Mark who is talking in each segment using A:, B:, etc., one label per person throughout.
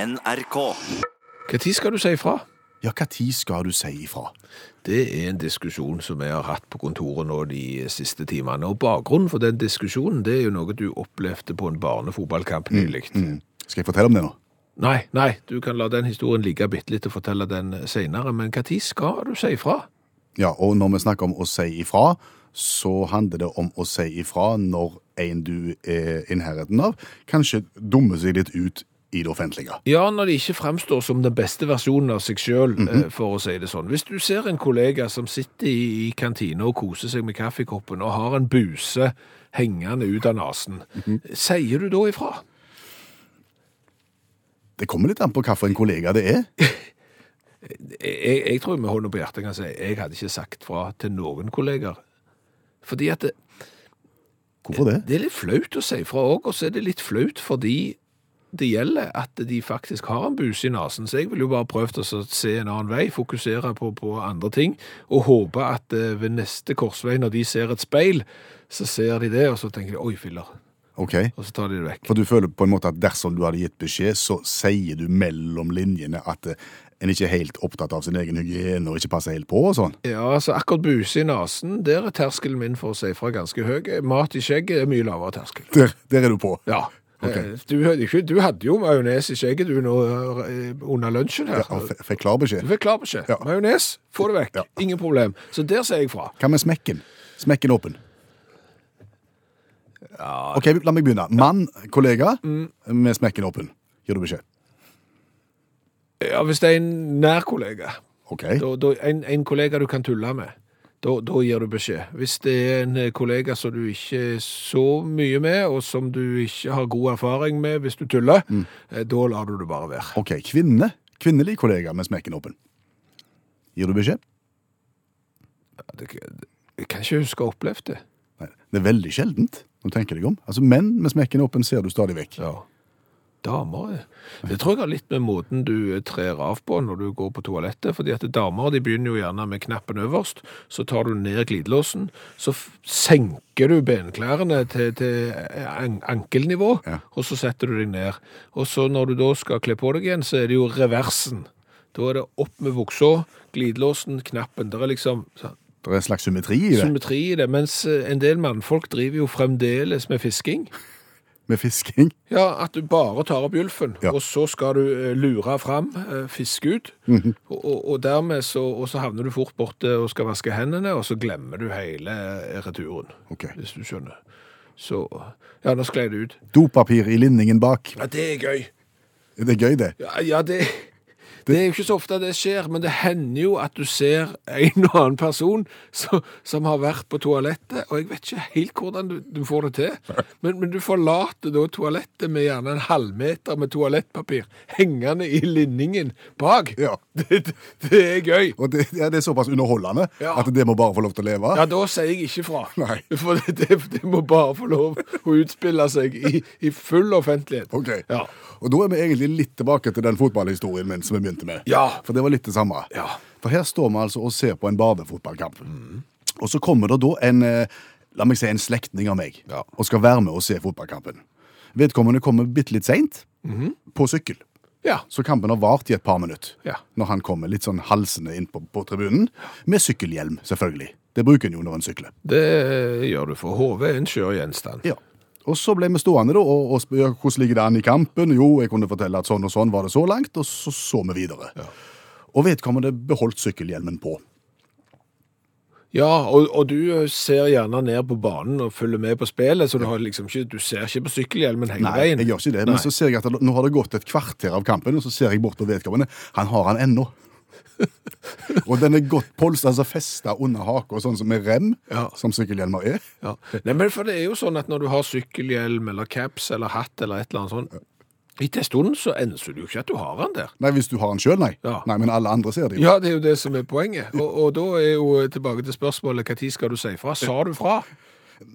A: NRK.
B: Når skal du si ifra?
C: Ja, hva tid skal du si ifra?
B: Det er en diskusjon som vi har hatt på kontoret nå de siste timene. Og bakgrunnen for den diskusjonen, det er jo noe du opplevde på en barnefotballkamp nylig.
C: Mm. Skal jeg fortelle om det nå?
B: Nei, nei, du kan la den historien ligge bitte litt og fortelle den senere, men hva tid skal du si ifra?
C: Ja, og når vi snakker om å si ifra, så handler det om å si ifra når en du er innherreden av, kanskje dummer seg litt ut i det offentlige.
B: Ja, når de ikke fremstår som den beste versjonen av seg sjøl, for å si det sånn. Hvis du ser en kollega som sitter i, i kantina og koser seg med kaffekoppen og har en buse hengende ut av nesen, sier du da ifra?
C: Det kommer litt an på hvilken kollega det er.
B: Jeg, jeg tror med hånda på hjertet kan si jeg hadde ikke sagt fra til noen kolleger. Fordi at det,
C: Hvorfor det?
B: Det er litt flaut å si fra òg, og så er det litt flaut fordi det gjelder at de faktisk har en buse i nesen. Så jeg ville jo bare prøvd å så se en annen vei, fokusere på, på andre ting, og håpe at eh, ved neste korsvei, når de ser et speil, så ser de det, og så tenker de 'oi, filler',
C: Ok,
B: og så tar de det vekk.
C: for du føler på en måte at dersom du hadde gitt beskjed, så sier du mellom linjene at eh, en ikke er helt opptatt av sin egen hygiene og ikke passer helt på og sånn.
B: Ja, så akkurat buse i nesen, der er terskelen min for å si fra ganske høy. Mat i skjegget er mye lavere terskel.
C: Der, der er du på.
B: Ja. Eh, Du, hadde ikke- du hadde jo majones i skjegget du nå eh, under lunsjen her.
C: Ja, f- fikk klar
B: Du
C: beskjed.
B: fikk klar beskjed.
C: Ja.
B: Majones, få det vekk.
C: Ja.
B: Ingen problem. Så der sier jeg fra.
C: Hva med smekken? Smekken åpen. Ok, la meg begynne. Mann, kollega, med smekken åpen. Gir du beskjed?
B: Ja, hvis det er en nær kollega,
C: Ok.
B: da, da, en, en kollega du kan tulle med, da, da gir du beskjed. Hvis det er en eh, kollega som du ikke er så mye med, og som du ikke har god erfaring med hvis du tuller,
C: Mm.
B: eh, da lar du det bare være.
C: Ok, kvinne. Kvinnelig kollega med smekken åpen. Gir du beskjed?
B: Ja, det- Jeg kan ikke huske å ha opplevd det.
C: Nei, det er veldig sjeldent, når du tenker deg om. Altså, menn med smekken åpen ser du stadig vekk.
B: Ja. Damer eh. Det tror jeg har litt med måten du eh, trer av på når du går på toalettet. fordi at damer de begynner jo gjerne med knappen øverst, så tar du ned glidelåsen, så f- senker du benklærne til, til eh, an ankelnivå,
C: Ja.
B: og så setter du deg ned. Og så når du da skal kle på deg igjen, så er det jo reversen. Da er det opp med buksa, glidelåsen, knappen. Det er liksom sånn
C: Det er en slags symmetri i det,
B: symmetri i det. Mens eh, en del mannfolk driver jo fremdeles med fisking.
C: med fisking.
B: Ja, at du bare tar opp gylfen,
C: Ja.
B: og så skal du eh, lure fram, eh, fiske ut,
C: Mhm.
B: og, og, og dermed så, og så havner du fort borte og skal vaske hendene, og så glemmer du hele eh, returen,
C: Ok.
B: hvis du skjønner. Så, ja, nå sklei det ut.
C: Dopapir i linningen bak.
B: Ja, det er gøy.
C: Det er gøy det.
B: Ja, ja det, det er jo ikke så ofte det skjer, men det hender jo at du ser en og annen person som, som har vært på toalettet, og jeg vet ikke helt hvordan du, du får det til, men, men du forlater da toalettet med gjerne en halvmeter med toalettpapir hengende i linningen bak.
C: Ja.
B: Det, det, det er gøy.
C: Og det, ja, det er såpass underholdende
B: Ja.
C: at det må bare få lov til å leve.
B: Ja, da sier jeg ikke fra.
C: Nei.
B: For det, det, det må bare få lov å utspille seg i, i full offentlighet.
C: Ok.
B: Ja.
C: Og da er vi egentlig litt tilbake til den fotballhistorien min som vi begynte med.
B: Ja.
C: For det var litt det samme.
B: Ja.
C: For her står vi altså og ser på en barnefotballkamp. Og så kommer det da en, eh, la meg si, en slektning av meg,
B: Ja.
C: og skal være med og se fotballkampen. Vedkommende kommer bitte litt seint, på sykkel.
B: Ja.
C: Så kampen har vart i et par minutter.
B: Ja.
C: Når han kommer litt sånn halsende inn på, på tribunen, med sykkelhjelm, selvfølgelig. Det bruker en jo når en sykler.
B: Det gjør du for hodet er en skjør gjenstand.
C: Ja. Og så ble vi stående da, og, og spørre hvordan ligger det an i kampen. Jo, jeg kunne fortelle at sånn og sånn var det så langt, og så så vi videre. Og vedkommende beholdt sykkelhjelmen på.
B: Ja, og, og du eh, ser gjerne ned på banen og følger med på spillet, så du, har liksom ikke, du ser ikke på sykkelhjelmen hele
C: Nei,
B: veien.
C: jeg gjør ikke det, men
B: Nei.
C: så ser jeg at det, nå har det gått et kvarter av kampen, og så ser jeg bort på vedkommende. Han har han ennå. og den er godt polstra, altså festa under haka, sånn som med rem,
B: Ja.
C: som sykkelhjelmer er.
B: Ja. Nei, men for det er jo sånn at når du har sykkelhjelm eller caps eller hatt eller et eller annet sånt, i til stunden så enser du jo ikke at du har den der.
C: Nei, hvis du har han sjøl, nei.
B: Ja.
C: Nei, Men alle andre ser det jo.
B: Ja, det er jo det som er poenget. Og, og da er jo eh, tilbake til spørsmålet, hva tid skal du si fra? Sa du fra?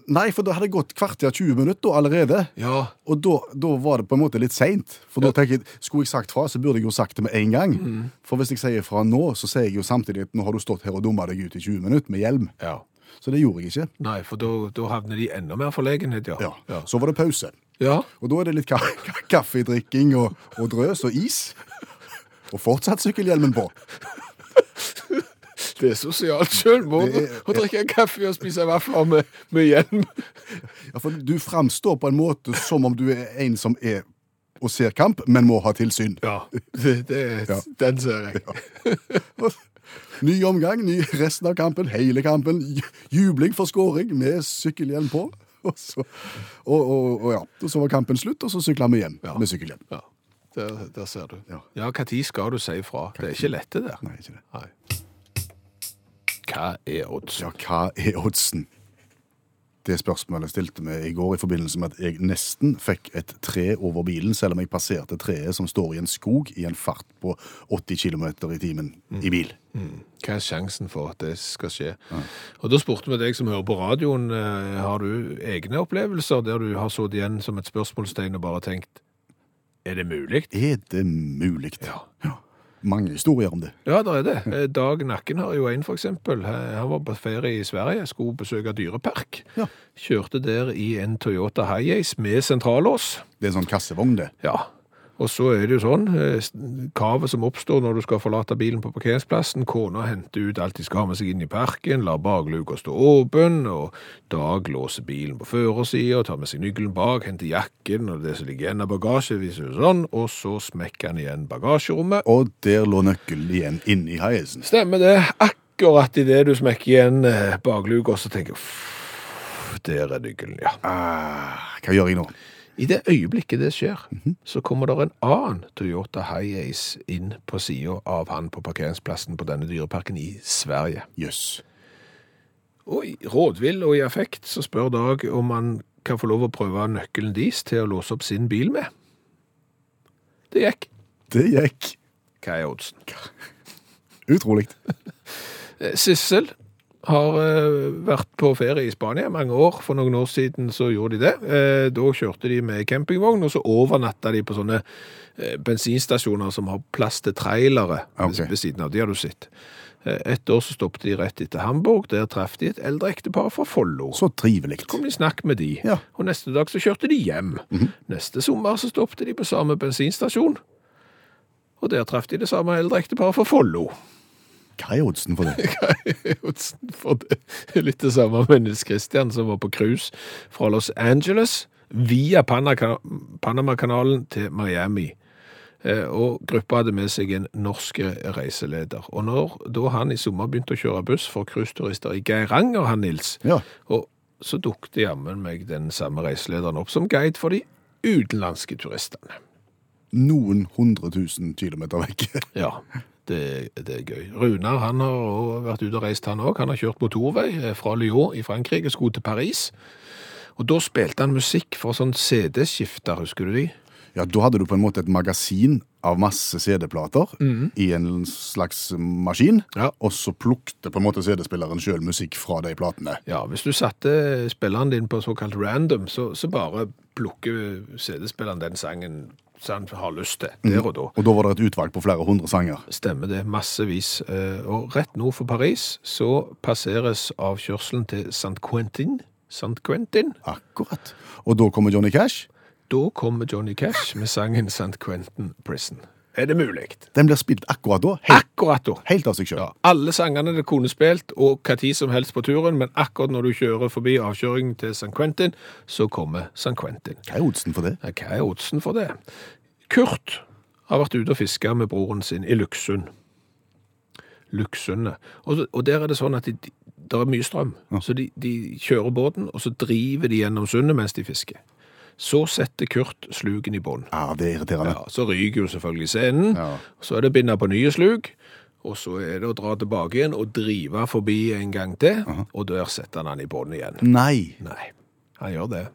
C: Nei, for da hadde det gått kvarter 20 minutter allerede.
B: Ja,
C: Og da, da var det på en måte litt seint. For da tenker jeg, skulle jeg sagt fra, så burde jeg jo sagt det med en gang. For hvis jeg sier fra nå, så sier jeg jo samtidig at nå har du stått her og dumma deg ut i 20 minutter med hjelm.
B: ja.
C: Så det gjorde jeg ikke.
B: Nei, for da, da havner de enda mer forlegenhet, ja.
C: Ja. Så var det pause.
B: Ja.
C: Og da er det litt ka ka kaffedrikking og, og drøs og is. Og fortsatt sykkelhjelmen på.
B: Det er sosialt selvmord
C: Det er-
B: å drikke kaffe og spise vafler med, med hjelm.
C: Ja, for du framstår på en måte som om du er en som er og ser kamp, men må ha tilsyn.
B: Ja, det, det,
C: Ja.
B: den ser jeg.
C: Ny omgang, ny resten av kampen, hele kampen. Ju- Jubling for scoring med sykkelhjelm på. Og så, og, og, og ja. og så var kampen slutt, og så sykla vi hjem med sykkelhjelm.
B: Ja, der, der ser du.
C: Ja.
B: Ja, hva tid skal du si fra? Det er ikke lett det der.
C: Nei, ikke det.
B: Nei. Hva er odds?
C: Ja, hva er oddsen? Det spørsmålet stilte vi i går i forbindelse med at jeg nesten fikk et tre over bilen, selv om jeg passerte treet som står i en skog i en fart på 80 km i timen i bil.
B: Mm. Hva er sjansen for at det skal skje? Og da spurte vi deg som hører på radioen, eh, har du egne opplevelser der du har sittet igjen som et spørsmålstegn og bare tenkt, er det mulig?
C: Er det mulig?
B: Ja.
C: Mange historier om det.
B: Ja, det er det. Eh, Dag Nakken har jo en, for eksempel. Eh, Han var på ferie i Sverige, skulle besøke dyrepark.
C: Ja.
B: Kjørte der i en Toyota Hiace med sentrallås.
C: Det er en sånn kassevogn, det.
B: Ja, og så er det jo sånn, eh, s- kavet som oppstår når du skal forlate bilen på parkeringsplassen, kona henter ut alt de skal ha med seg inn i parken, lar bakluka stå åpen, og Dag låser bilen på førersida, og tar med seg nøkkelen bak, henter jakken og det som ligger igjen av bagasje, viser det sånn, og så smekker han igjen bagasjerommet,
C: Og der lå nøkkelen igjen inni haisen.
B: Stemmer det. Akkurat idet du smekker igjen eh, bakluka, så tenker jeg «Pff, Der er nøkkelen, ja.
C: Ah, hva gjør jeg nå?
B: I det øyeblikket det skjer, så kommer det en annen Toyota Hiace inn på sida av han på parkeringsplassen på denne dyreparken i Sverige.
C: Jøss.
B: Og i rådvill og i affekt så spør Dag om han kan få lov å prøve nøkkelen deres til å låse opp sin bil med. Det gikk.
C: Det gikk
B: Hva er oddsen?
C: utrolig.
B: Eh, Sissel har eh, vært på ferie i Spania i mange år. For noen år siden så gjorde de det. Eh, da kjørte de med campingvogn, og så overnatta de på sånne eh, bensinstasjoner som har plass til trailere
C: Ok.
B: ved- ved siden av. De har du sett. Eh, et år så stoppet de rett etter Hamburg. Der traff de et eldre ektepar fra Follo.
C: Så trivelig.
B: Kom i snakk med de,
C: Ja. Mhm.
B: og neste dag så kjørte de hjem. Neste sommer så stoppet de på samme bensinstasjon, og der traff de det samme eldre ekteparet fra Follo.
C: Hva er oddsen for det?
B: Johnsen, For det er litt det samme med Nils Kristian som var på cruise fra Los Angeles via Panaka- Panamakanalen til Miami. Eh, Og gruppa hadde med seg en norsk reiseleder. Og når da han i sommer begynte å kjøre buss for cruiseturister i Geiranger, han Nils,
C: Ja.
B: og så dukte jammen meg den samme reiselederen opp som guide for de utenlandske turistene.
C: Noen hundre tusen kilometer vekk.
B: Ja, det, det er gøy. Runar han har også vært ute og reist, han òg. Han har kjørt motorvei eh, fra Lyon i Frankrike og skulle til Paris. Og da spilte han musikk for sånn CD-skifter, husker du de?
C: Ja, Da hadde du på en måte et magasin av masse CD-plater i en slags maskin,
B: Mhm. Ja.
C: og så plukte på en måte CD-spilleren sjøl musikk fra de platene.
B: Ja, hvis du satte spilleren din på såkalt random, så, så bare plukker CD-spilleren den sangen som han har lyst til,
C: Mm.
B: der og da.
C: Og da var det et utvalg på flere hundre sanger.
B: Stemmer det, massevis. Eh, Og rett nord for Paris så passeres avkjørselen til St. Quentin. St. Quentin.
C: Akkurat. Og da kommer Johnny Cash.
B: Da kommer Johnny Cash med sangen St. Quentin Prison. Er det mulig?
C: Den blir spilt akkurat da, helt,
B: Akkurat da.
C: helt av seg sjøl.
B: Ja, alle sangene det kunne spilt, og hva tid som helst på turen, men akkurat når du kjører forbi avkjøringen til St. Quentin, så kommer St. Quentin.
C: Hva er oddsen for det?
B: Ja, Hva er oddsen for det? Kurt har vært ute og fiska med broren sin i Luksund. Luksundene. Og, og der er det sånn at de, det er mye strøm. Så de, de kjører båten, og så driver de gjennom sundet mens de fisker. Så setter Kurt sluken i bånn.
C: Ja, Det er irriterende.
B: Ja, så ryker jo selvfølgelig scenen.
C: Ja.
B: Så er det å binde på nye sluk, og så er det å dra tilbake igjen og drive forbi en gang til, og der setter han han i bånd igjen.
C: Nei.
B: Nei, han gjør det.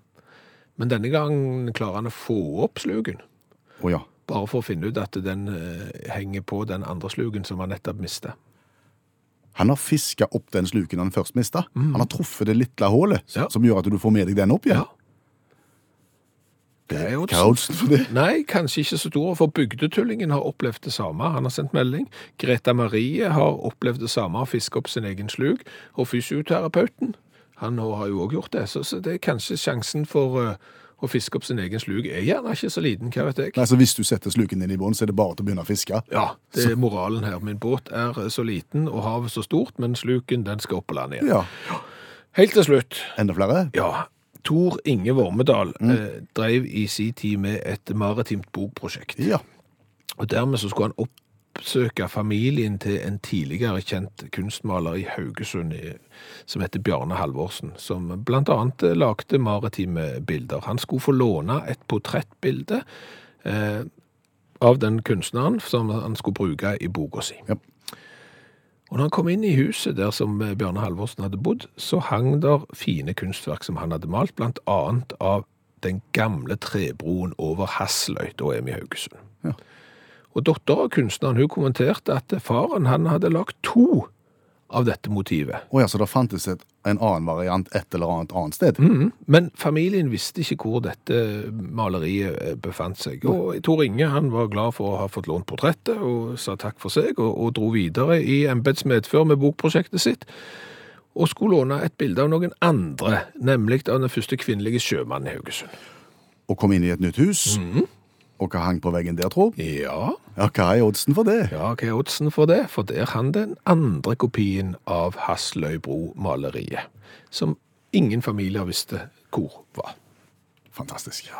B: Men denne gangen klarer han å få opp slugen,
C: Å ja.
B: bare for å finne ut at den eh, henger på den andre slugen som han nettopp mistet.
C: Han har fiska opp den sluken han først mista. Han har truffet det lille hullet
B: Ja.
C: som gjør at du får med deg den opp igjen.
B: Ja. Det er jo
C: Hva er oddsen for det?
B: Nei, kanskje ikke så store, for bygdetullingen har opplevd det samme. Han har sendt melding. Greta Marie har opplevd det samme, har fisket opp sin egen slug. Og fysioterapeuten, han nå har jo også gjort det. Så, så det er kanskje sjansen for eh, Å fiske opp sin egen sluk er gjerne ikke så liten, hva vet jeg.
C: Nei, så Hvis du setter sluken din i bånn, så er det bare til å begynne å fiske.
B: Ja, det er moralen her. Min båt er eh, så liten og havet så stort, men sluken den skal opp på land igjen.
C: Ja.
B: Helt til slutt,
C: Enda flere?
B: ja. Tor Inge Vormedal
C: Mm.
B: eh, drev i sin tid med et maritimt bokprosjekt.
C: Ja.
B: Og dermed så skulle han oppsøke familien til en tidligere kjent kunstmaler i Haugesund i- som heter Bjarne Halvorsen, som blant annet eh, lagde maritime bilder. Han skulle få låne et portrettbilde eh, av den kunstneren som han skulle bruke i boka si.
C: Ja.
B: Og når han kom inn i huset der som eh, Bjarne Halvorsen hadde bodd, så hang der fine kunstverk som han hadde malt, blant annet av den gamle trebroen over Hassløy, da er vi i Haugesund.
C: Ja.
B: Og datteren av kunstneren hun kommenterte at faren han hadde lagt to av dette motivet.
C: Å ja, så det fantes et, en annen variant et eller annet annet sted?
B: Mhm. Men familien visste ikke hvor dette maleriet eh, befant seg. Og Tor Inge han var glad for å ha fått lånt portrettet og sa takk for seg, og, og dro videre i embets medfør med bokprosjektet sitt. Og skulle låne et bilde av noen andre, nemlig av den første kvinnelige sjømannen i Haugesund.
C: Og kom inn i et nytt hus? Og hva hang på veggen der, tro?
B: Ja,
C: Ja, hva er oddsen for det?
B: Ja, hva er oddsen for det? For der hang den andre kopien av Hasløybro-maleriet, som ingen familier visste hvor var.
C: Fantastisk.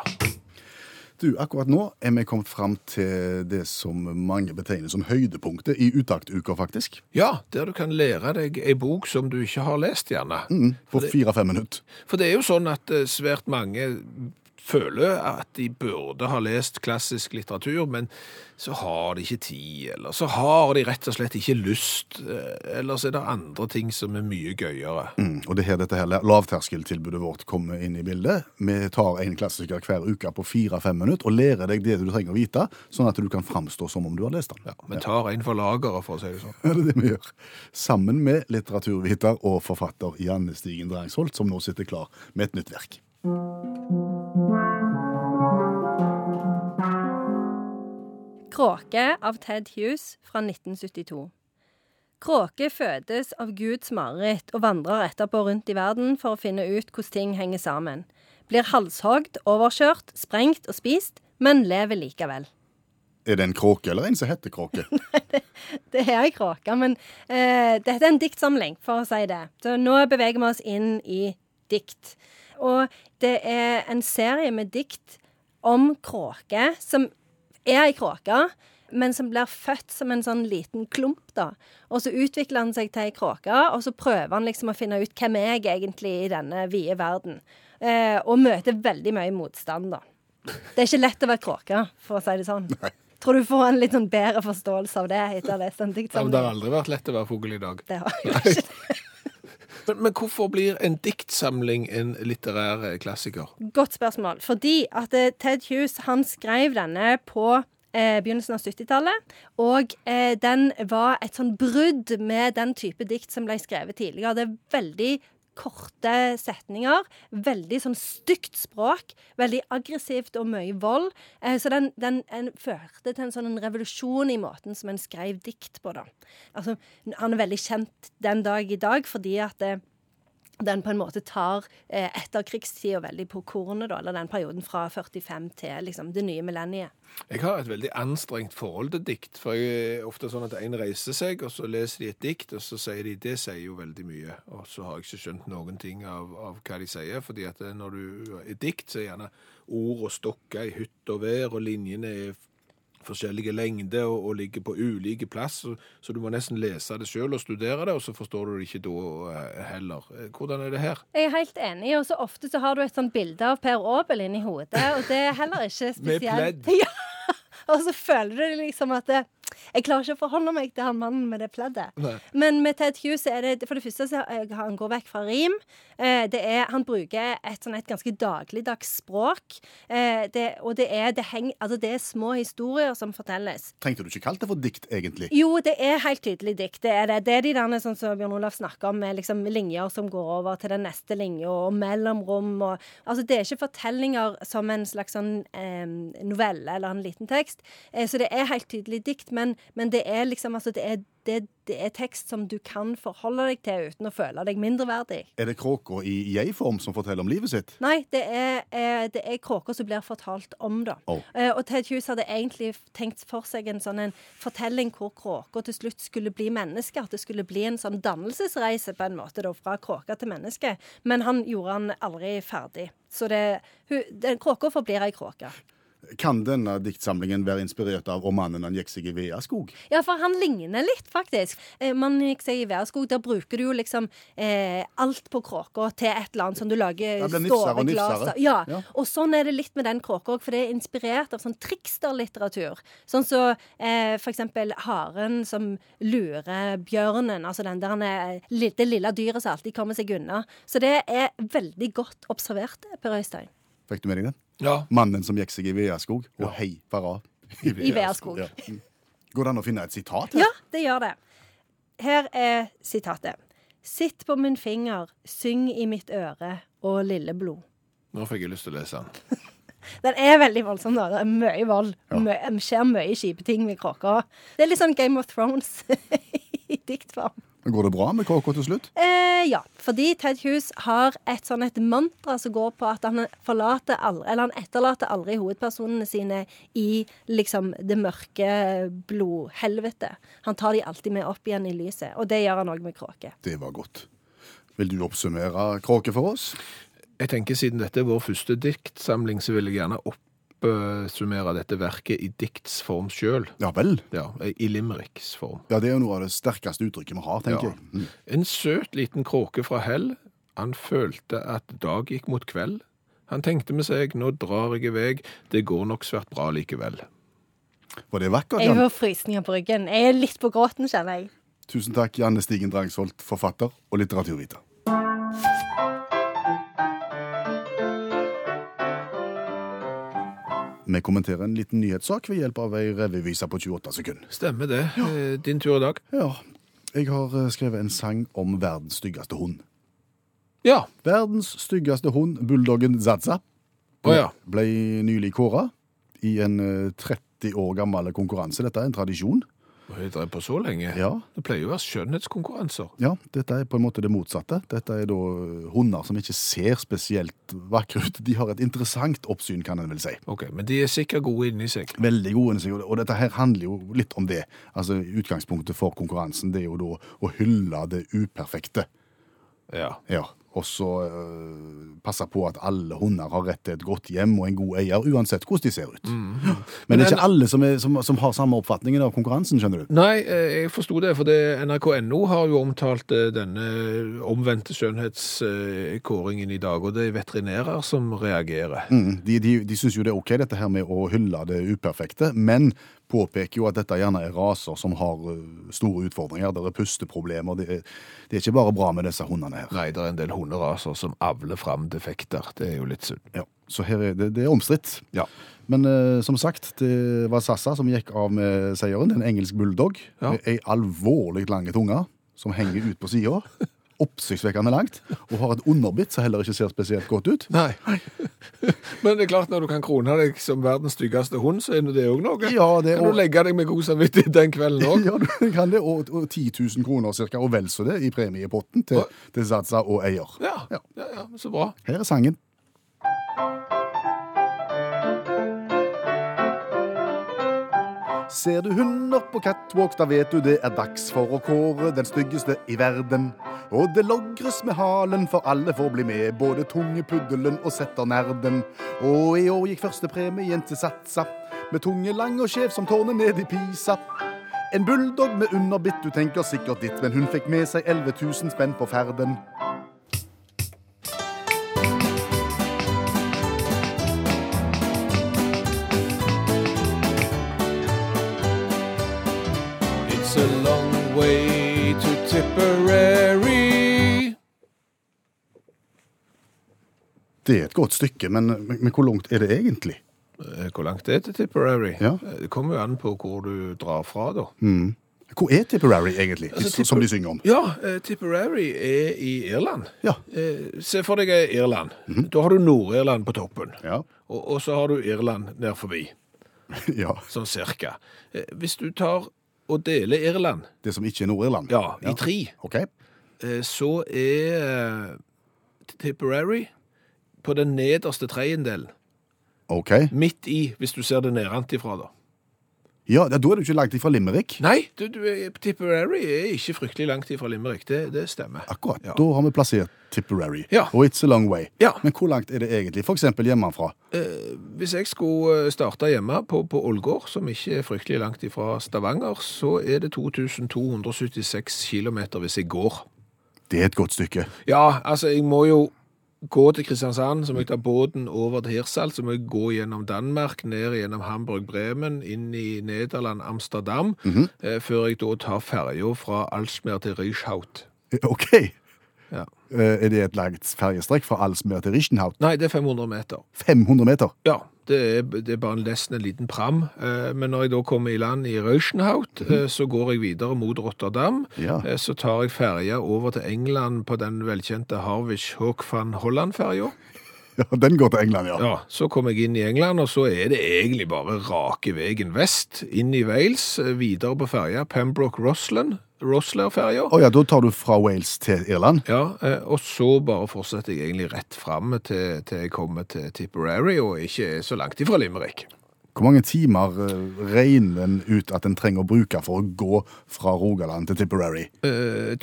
C: Du, akkurat nå er vi kommet fram til det som mange betegner som høydepunktet i utaktuka, faktisk.
B: Ja, der du kan lære deg ei bok som du ikke har lest, gjerne.
C: Mm, på fire-fem minutter.
B: For det er jo sånn at eh, svært mange føler at de burde ha lest klassisk litteratur, men så har de ikke tid, eller så har de rett og slett ikke lyst, eh, eller så er det andre ting som er mye gøyere.
C: Mm, og det her, dette her lavterskeltilbudet vårt kommer inn i bildet. Vi tar en klassiker hver uke på fire-fem minutter og lærer deg det du trenger å vite, sånn at du kan framstå som om du har lest den.
B: Vi tar en for lageret, for å si det sånn.
C: Det er det vi gjør. Sammen med litteraturviter og forfatter Janne Stigen Drangsholt, som nå sitter klar med et nytt verk.
A: Kråke av Ted Hughes fra 1972. Kråke fødes av Guds mareritt og vandrer etterpå rundt i verden for å finne ut hvordan ting henger sammen. Blir halshogd, overkjørt, sprengt og spist, men lever likevel.
C: Er det en kråke eller en som heter kråke?
A: Det er ei kråke, men eh, dette er en diktsamling, for å si det. Så nå beveger vi oss inn i dikt. Og det er en serie med dikt om kråke, som er ei kråke, men som blir født som en sånn liten klump, da. Og så utvikler han seg til ei kråke, og så prøver han liksom å finne ut hvem er jeg egentlig i denne vide verden. Eh, og møter veldig mye motstand, da. Det er ikke lett å være kråke, for å si det sånn. Tror du får en litt sånn bedre forståelse av det etter å ha lest
B: Ja, men
A: den
B: det har
A: diktsamlingen?
B: aldri vært lett å være fugl i dag.
A: Det har jeg ikke.
B: Men, men hvorfor blir en diktsamling en litterær eh, klassiker?
A: Godt spørsmål. Fordi at eh, Ted Hughes han skrev denne på eh, begynnelsen av 70-tallet. Og eh, den var et sånn brudd med den type dikt som ble skrevet tidligere. Det er veldig korte setninger. Veldig sånn stygt språk. Veldig aggressivt og mye vold. Eh, så den, den en førte til en sånn en revolusjon i måten som en skrev dikt på, da. Altså, han er veldig kjent den dag i dag fordi at eh, den på en måte tar eh, etterkrigstida veldig på kornet, da, eller den perioden fra 45 til liksom, det nye millenniet.
B: Jeg har et veldig anstrengt forhold til dikt. For jeg er ofte sånn at en reiser seg, og så leser de et dikt, og så sier de Det sier jo veldig mye. Og så har jeg ikke skjønt noen ting av, av hva de sier. fordi at eh, når du er dikt, så er gjerne ord og stokker i hytt og vær, og linjene er f- forskjellige lengder og, og ligger på ulike plass, så, så du må nesten lese det sjøl og studere det, og så forstår du det ikke da eh, heller. Eh, Hvordan er det her?
A: Jeg er helt enig, og så ofte så har du et sånt bilde av Per Aabel inni hodet, og det er heller ikke spesielt.
B: Med pledd.
A: Ja, og så føler du liksom at eh, jeg klarer ikke å forholde meg til han mannen med det pleddet.
B: Nei.
A: Men med Ted Hughes er det for det første så eh, han går vekk fra rim. Eh, Det er, han bruker et, sånn, et ganske dagligdags språk. Eh, Det, og det er, det, heng, altså det er små historier som fortelles.
C: Trengte du ikke kalt det for dikt, egentlig?
A: Jo, det er helt tydelig dikt. Det er det. Det er de der sånn som Bjørn Olav snakker om, med liksom linjer som går over til den neste linja, og mellomrom og Altså, det er ikke fortellinger som en slags sånn eh, novelle eller en liten tekst. Eh, så det er helt tydelig dikt, men men, men det er liksom altså, det, er, det, det er tekst som du kan forholde deg til uten å føle deg mindreverdig.
C: Er det kråka i jeg-form som forteller om livet sitt?
A: Nei, det er, eh, det er kråker som blir fortalt om, da.
C: Å.
A: Eh, og Ted Hughes hadde egentlig tenkt for seg en sånn en fortelling hvor kråker til slutt skulle bli mennesker. At det skulle bli en sånn dannelsesreise på en måte, da, fra kråke til menneske. Men han gjorde han aldri ferdig. Så det, hun, den kråka forblir ei kråke.
C: Kan denne diktsamlingen være inspirert av romanen han gikk seg i Veaskog?
A: Ja, for han ligner litt, faktisk. Eh, man gikk seg i Værskog. Der bruker du jo liksom eh, alt på kråka til et eller annet som du lager
C: Det blir nifsere og
A: stående glass
C: nifsere.
A: av. Ja.
C: Ja.
A: Og sånn er det litt med den kråka òg, for det er inspirert av sånn tricksterlitteratur. Sånn som eh, for eksempel haren som lurer bjørnen, altså den der han er li- det lille dyret som alltid kommer seg unna. Så det er veldig godt observert, Per Øystein.
C: Fikk du med deg den?
B: Ja.
C: Mannen som gikk seg i Veaskog, og Hei Farah i
A: Veaskog.
C: Ja. Mm. Går det an å finne et sitat? her?
A: Ja, det gjør det. Her er sitatet. Sitt på min finger, syng i mitt øre og lille blod.
B: Nå fikk jeg lyst til å lese den.
A: Den er veldig voldsom, da. Det er mye vold. Mø- Det skjer mye kjipe ting med kråka. Det er litt sånn Game of Thrones i diktform.
C: Går det bra med kråka til slutt?
A: Eh, ja, fordi Ted Hughes har et sånn et mantra som går på at han forlater aldri, eller han etterlater aldri hovedpersonene sine i liksom det mørke blodhelvetet. Han tar de alltid med opp igjen i lyset, og det gjør han òg med kråker.
C: Det var godt. Vil du oppsummere kråke for oss?
B: Jeg tenker Siden dette er vår første diktsamling, så vil jeg gjerne oppsummere dette verket i diktsform sjøl.
C: Ja vel.
B: Ja, I limericks form.
C: Ja, Det er jo noe av det sterkeste uttrykket vi har,
B: Ja.
C: tenker jeg. Mm.
B: En søt liten kråke fra Hell. Han følte at dag gikk mot kveld. Han tenkte med seg, nå drar jeg i veg, det går nok svært bra likevel.
C: Var det vakkert,
A: Jeg
C: Jan?
A: får frysninger på ryggen. Jeg er litt på gråten, kjenner jeg.
C: Tusen takk, Janne Stigen Drangsholt, forfatter og litteraturviter. Vi kommenterer en liten nyhetssak ved hjelp av ei revyvise på 28 sekunder.
B: Stemmer det. Eh, Din tur i dag?
C: Ja, jeg har eh, skrevet en sang om verdens styggeste hund.
B: Ja.
C: Verdens styggeste hund, bulldoggen Zaza,
B: Å ja.
C: ble nylig kåra i en eh, 30 år gammel konkurranse. Dette er en tradisjon.
B: Har jeg drevet på så lenge?
C: Ja.
B: Det pleier jo å være skjønnhetskonkurranser.
C: Ja, dette er på en måte det motsatte. Dette er da eh, hunder som ikke ser spesielt vakre ut. De har et interessant oppsyn, kan en vel si.
B: Ok, Men de er sikkert gode inni seg.
C: Veldig gode, innsikt, og dette her handler jo litt om det. Altså, Utgangspunktet for konkurransen det er jo da å hylle det uperfekte.
B: Ja.
C: Ja, Og så øh, passe på at alle hunder har rett til et godt hjem og en god eier, uansett hvordan de ser ut. Ja, Men det er ikke alle som, er, som, som har samme oppfatningen av konkurransen, skjønner du.
B: Nei, eh, jeg forsto det, for det- NRK.no har jo omtalt eh, denne omvendte skjønnhetskåringen i dag, og det er veterinærer som reagerer.
C: Mm, De, de, de syns jo det er ok, dette her med å hylle det uperfekte, men påpeker jo at dette gjerne er raser som har ø, store utfordringer. Det er pusteproblemer. Det er, det er ikke bare bra med disse hundene her.
B: Nei, det er en del hunderaser som avler fram defekter. Det er jo litt synd.
C: Ja, så her er det, det er omstridt.
B: Ja.
C: Men ø, som sagt, det var Sassa som gikk av med seieren. En engelsk bulldog
B: Ja.
C: med ei alvorlig lang tunge som henger ut på sida. Oppsiktsvekkende langt. Og har et underbitt som heller ikke ser spesielt godt ut.
B: Nei. Men det er klart, når du kan krone deg som verdens styggeste hund, så er nå det òg noe.
C: Ja, det er
B: Kan
C: også-
B: du legge deg med god samvittighet den kvelden òg?
C: Ja, du kan det. Og, og 10 000 kroner cirka, og vel så det, i premiepotten til, til Zaza og eier.
B: Ja. ja. Ja, så bra.
C: Her er sangen. Ser du hunder på catwalk, da vet du det er dags for å kåre den styggeste i verden. Og det logres med halen, for alle får bli med, både tunge puddelen og setternerden. Og i år gikk førstepremien til Satsa, med tunge lang og skjev som tårnet ned i Pisa. En bulldog med underbitt, du tenker sikkert ditt, men hun fikk med seg 11 000 spenn på ferden.
B: It's a long way to Tipperary.
C: Det er et godt stykke, men, men, men hvor langt er det egentlig?
B: Eh, Hvor langt er det til Tipperary?
C: Ja.
B: Eh, Det kommer jo an på hvor du drar fra, da.
C: Hvor er Tipperary egentlig,
B: Altså,
C: som de synger om?
B: Ja, eh, Tipperary er i Irland.
C: Ja.
B: Eh, Se for deg eh, Irland. Da har du Nord-Irland på toppen.
C: Ja.
B: Og, og så har du Irland ned forbi.
C: Ja,
B: sånn cirka. Eh, Hvis du tar og deler Irland
C: Det som ikke er Nord-Irland?
B: ja, i tre,
C: OK.
B: eh, så er eh, Tipperary på den nederste tredjedelen.
C: ok.
B: Midt i, hvis du ser det nedenfra, da.
C: Ja, da er du ikke langt ifra Limerick.
B: Nei, du, du, er- Tipperary er ikke fryktelig langt ifra Limerick. Det, det stemmer.
C: Akkurat.
B: Ja.
C: Da har vi plassert Tipperary.
B: Ja.
C: Og It's a Long Way.
B: Ja.
C: Men hvor langt er det egentlig? F.eks. hjemmefra.
B: Hvis jeg skulle eh, starte hjemme på, på Ålgård, som ikke er fryktelig langt ifra Stavanger, så er det 2276 km hvis jeg går.
C: Det er et godt stykke.
B: Ja, altså, jeg må jo gå til Kristiansand, så må jeg ta båten over til Hirsal, så må jeg gå gjennom Danmark, ned gjennom Hamburg, Bremen, inn i Nederland, Amsterdam, eh, før jeg da tar ferja fra Alsmer til Rischhaut.
C: Eh, OK.
B: Ja.
C: Eh, Er det et langt ferjestrekk fra Alsmer til Rischenhaut?
B: Nei, det er 500 meter.
C: 500 meter?
B: Ja, det er, det er bare nesten en liten pram. Eh, Men når jeg da kommer i land i Rauschenhaut, eh, så går jeg videre mot Rotterdam.
C: Mhm. Ja.
B: Eh, Så tar jeg ferja over til England på den velkjente Harwich Hawk van Holland-ferja.
C: Ja, Den går til England, ja.
B: Ja, så kom jeg inn i England, og så er det egentlig bare rake veien vest, inn i Wales, eh, videre på ferja Pembroke-Rossland, Rossler-ferja.
C: Å ja, da tar du fra Wales til Irland?
B: Ja, eh, og så bare fortsetter jeg egentlig rett fram til, til jeg kommer til Tipperary, og ikke er så langt ifra Limerick.
C: Hvor mange timer eh, regner en ut at en trenger å bruke for å gå fra Rogaland til Tipperary?
B: Eh,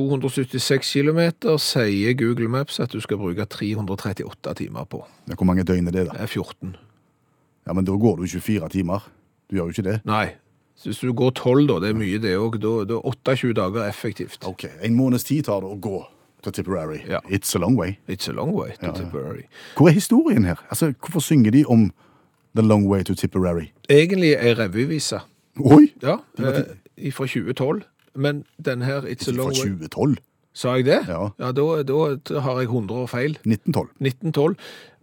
B: 2276 km sier Google Maps at du skal bruke 338 timer på.
C: Ja, Hvor mange døgn er det,
B: Det
C: da?
B: er 14.
C: Ja, Men da går du 24 timer. Du gjør jo ikke det.
B: Nei. Så Hvis du går 12, da, det er mye det òg, da da er 28 dager effektivt.
C: OK. En måneds tid tar det å gå til Tipperary.
B: Ja.
C: It's a long way.
B: It's a long way to Tipperary.
C: Hvor er historien her? Altså, Hvorfor synger de om The Long Way to Tipperary?
B: Egentlig ei revyvise,
C: Oi!
B: ja, eh, fra 2012. Men den her It's a
C: Fra
B: long way
C: 2012?
B: Sa jeg det?
C: Ja.
B: ja da, da har jeg 100 år feil.
C: 1912.
B: 1912.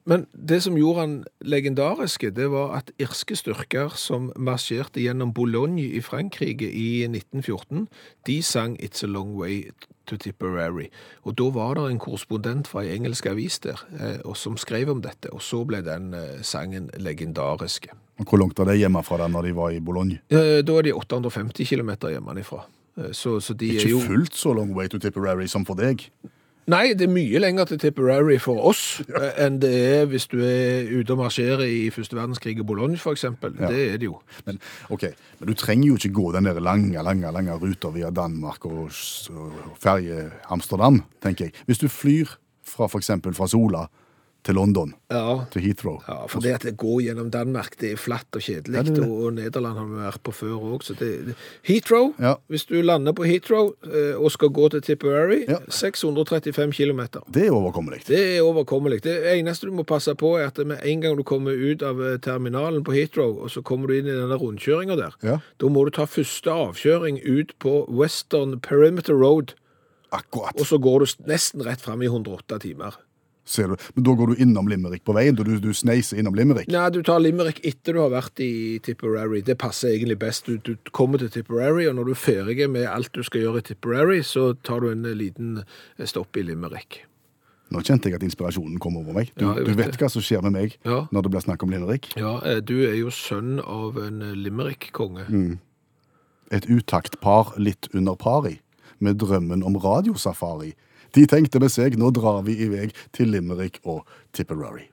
B: Men det som gjorde han legendariske, det var at irske styrker som marsjerte gjennom Boulogne i Frankrike i 1914, de sang It's a Long Way to Tipperary. Og da var det en korrespondent fra ei engelsk avis der eh, og som skrev om dette, og så ble den eh, sangen legendarisk.
C: Og Hvor langt var det hjemmefra da når de var i Bologna?
B: Eh, da er de 850 km hjemmefra. Eh, Så, så de er
C: Ikke
B: jo
C: fullt så long way to Tipperary som for deg.
B: Nei, det er mye lenger til Tipperary for oss eh, enn det er hvis du er ute og marsjerer i første verdenskrig i Bologna, f.eks. eksempel. Det er det jo.
C: Men ok, men du trenger jo ikke gå den der lange, lange, lange ruta via Danmark og, s- og ferje Amsterdam, tenker jeg. Hvis du flyr fra for eksempel fra Sola til London,
B: Ja.
C: til Heathrow.
B: ja for det at det går gjennom Danmark, det er flatt og kjedelig.
C: Ja, det er det.
B: og, og Nederland har vi vært på før òg, så det det- Heathrow.
C: Ja.
B: Hvis du lander på Heathrow eh, og skal gå til Tipperary,
C: Ja.
B: 635 km.
C: Det er overkommelig.
B: Det er overkommelig. Det eneste du må passe på, er at med en gang du kommer ut av eh, terminalen på Heathrow, og så kommer du inn i denne rundkjøringa der,
C: Ja.
B: da må du ta første avkjøring ut på Western Perimeter Road,
C: Akkurat.
B: og så går du s- nesten rett fram i 108 timer.
C: Ser du. Men da går du innom Limerick på veien, da du, du sneiser innom Limerick.
B: Nei, du tar Limerick etter du har vært i Tipperary. Det passer egentlig best. Du, du kommer til Tipperary, og når du er ferdig med alt du skal gjøre i Tipperary, så tar du en eh, liten eh, stopp i Limerick.
C: Nå kjente jeg at inspirasjonen kom over meg. Du,
B: Ja, jeg
C: du
B: vet
C: vet
B: det.
C: hva som skjer med meg
B: Ja.
C: når det blir snakk om Limerick.
B: Ja, eh, du er jo sønn av en eh, Limerick-konge.
C: Et utaktpar litt under pari, med drømmen om radiosafari. De tenkte med seg, nå drar vi i vei til Limerick og Tipperary.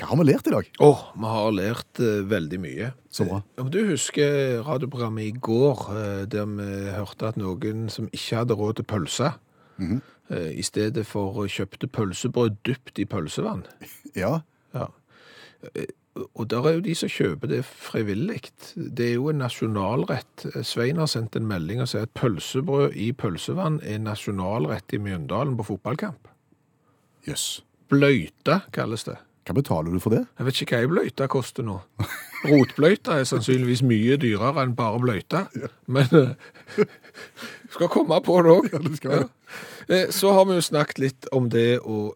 C: Hva har vi lært i dag?
B: Åh, vi har lært eh, veldig mye. Eh,
C: Så bra.
B: Om du husker radioprogrammet i går, eh, der vi hørte at noen som ikke hadde råd til pølse,
C: Mhm.
B: eh, i stedet for kjøpte pølsebrød dypt i pølsevann.
C: Ja,
B: Ja. Eh, Og der er jo de som kjøper det frivilligt. Det er jo en nasjonalrett. Eh, Svein har sendt en melding og sier at pølsebrød i pølsevann er nasjonalrett i Mjøndalen på fotballkamp.
C: jøss.
B: Bløyta kalles det.
C: Hva betaler du for det?
B: Jeg vet ikke hva ei bløyte koster nå. Rotbløyta er sannsynligvis mye dyrere enn bare bløyta, men eh, skal komme på det òg.
C: det skal jeg.
B: Så har vi jo snakket litt om det å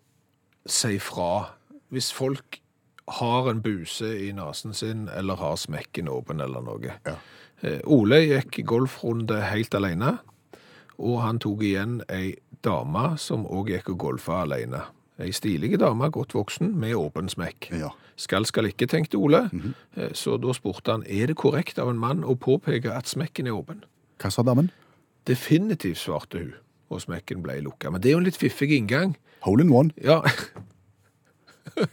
B: si fra. Hvis folk har en buse i nesen sin, eller har smekken åpen eller noe.
C: Ja.
B: Eh, Ole gikk golfrunde helt alene, og han tok igjen ei dame som òg gikk og golfa alene. Ei stilig dame, godt voksen, med åpen smekk.
C: Ja.
B: Skal, skal ikke, tenkte Ole.
C: Mhm.
B: Eh, Så da spurte han er det korrekt av en mann å påpeke at smekken er åpen.
C: Hva sa damen?
B: Definitivt, svarte hun, og smekken ble lukka. Men det er jo en litt fiffig inngang.
C: Hole in one.
B: Ja.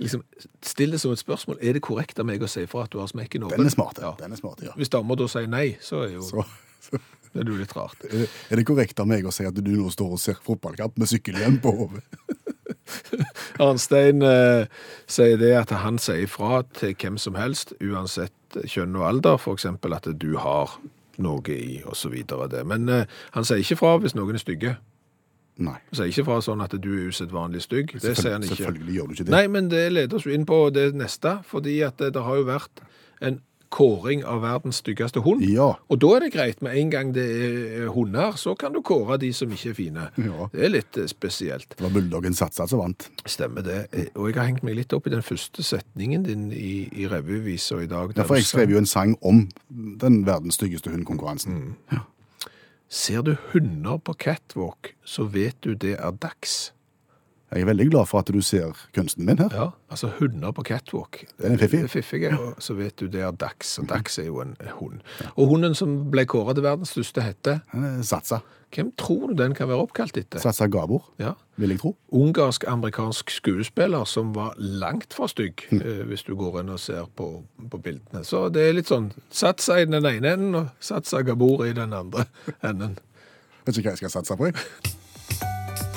B: liksom still det som et spørsmål. Er det korrekt av meg å si fra at du har smekken åpen?
C: Den er smart.
B: Ja.
C: Den er smart, ja.
B: Hvis damer da sier nei, så er jo
C: Så, så
B: det er jo litt rart.
C: er, det, er det korrekt av meg å si at du nå står og ser fotballkamp med sykkelhjelm på hodet?
B: Arnstein eh, sier det at han sier fra til hvem som helst, uansett kjønn og alder, f.eks. at du har noe i, osv. Men eh, han sier ikke fra hvis noen er stygge.
C: Nei.
B: Han sier ikke fra sånn at du er usedvanlig stygg. Det sier han ikke.
C: Selvfølgelig gjør du ikke det.
B: Nei, men det leder oss jo inn på det neste, fordi at eh, det, det har jo vært en kåring av verdens styggeste hund.
C: Ja.
B: Og da er det greit, med en gang det er hunder, så kan du kåre de som ikke er fine.
C: Ja.
B: Det er litt eh, spesielt.
C: Det var bulldoggen Satsa som vant.
B: Stemmer det. Eh, Og jeg har hengt meg litt opp i den første setningen din i, i revyvisa i dag. der
C: Derfor
B: du
C: jeg skrev jo en sang om den verdens styggeste
B: Mm.
C: hundkonkurransen.
B: Ser du hunder på catwalk, så vet du det er dags.
C: Jeg er veldig glad for at du ser kunsten min her.
B: Ja, altså hunder på catwalk.
C: Den er fiffig.
B: Det er fiffige, og så vet du det er dags. Og dags er jo en hund. Og hunden som ble kåret til verdens største hette,
C: Eh, Satsa.
B: hvem tror du den kan være oppkalt etter?
C: Satsa Gabor,
B: Ja.
C: vil jeg tro.
B: Ungarsk-amerikansk skuespiller som var langt fra stygg, eh, hvis du går inn og ser på, på bildene. Så det er litt sånn Satsa i den ene enden, og Satsa Gabor i den andre enden.
C: Vet ikke hva jeg skal satse på. jeg.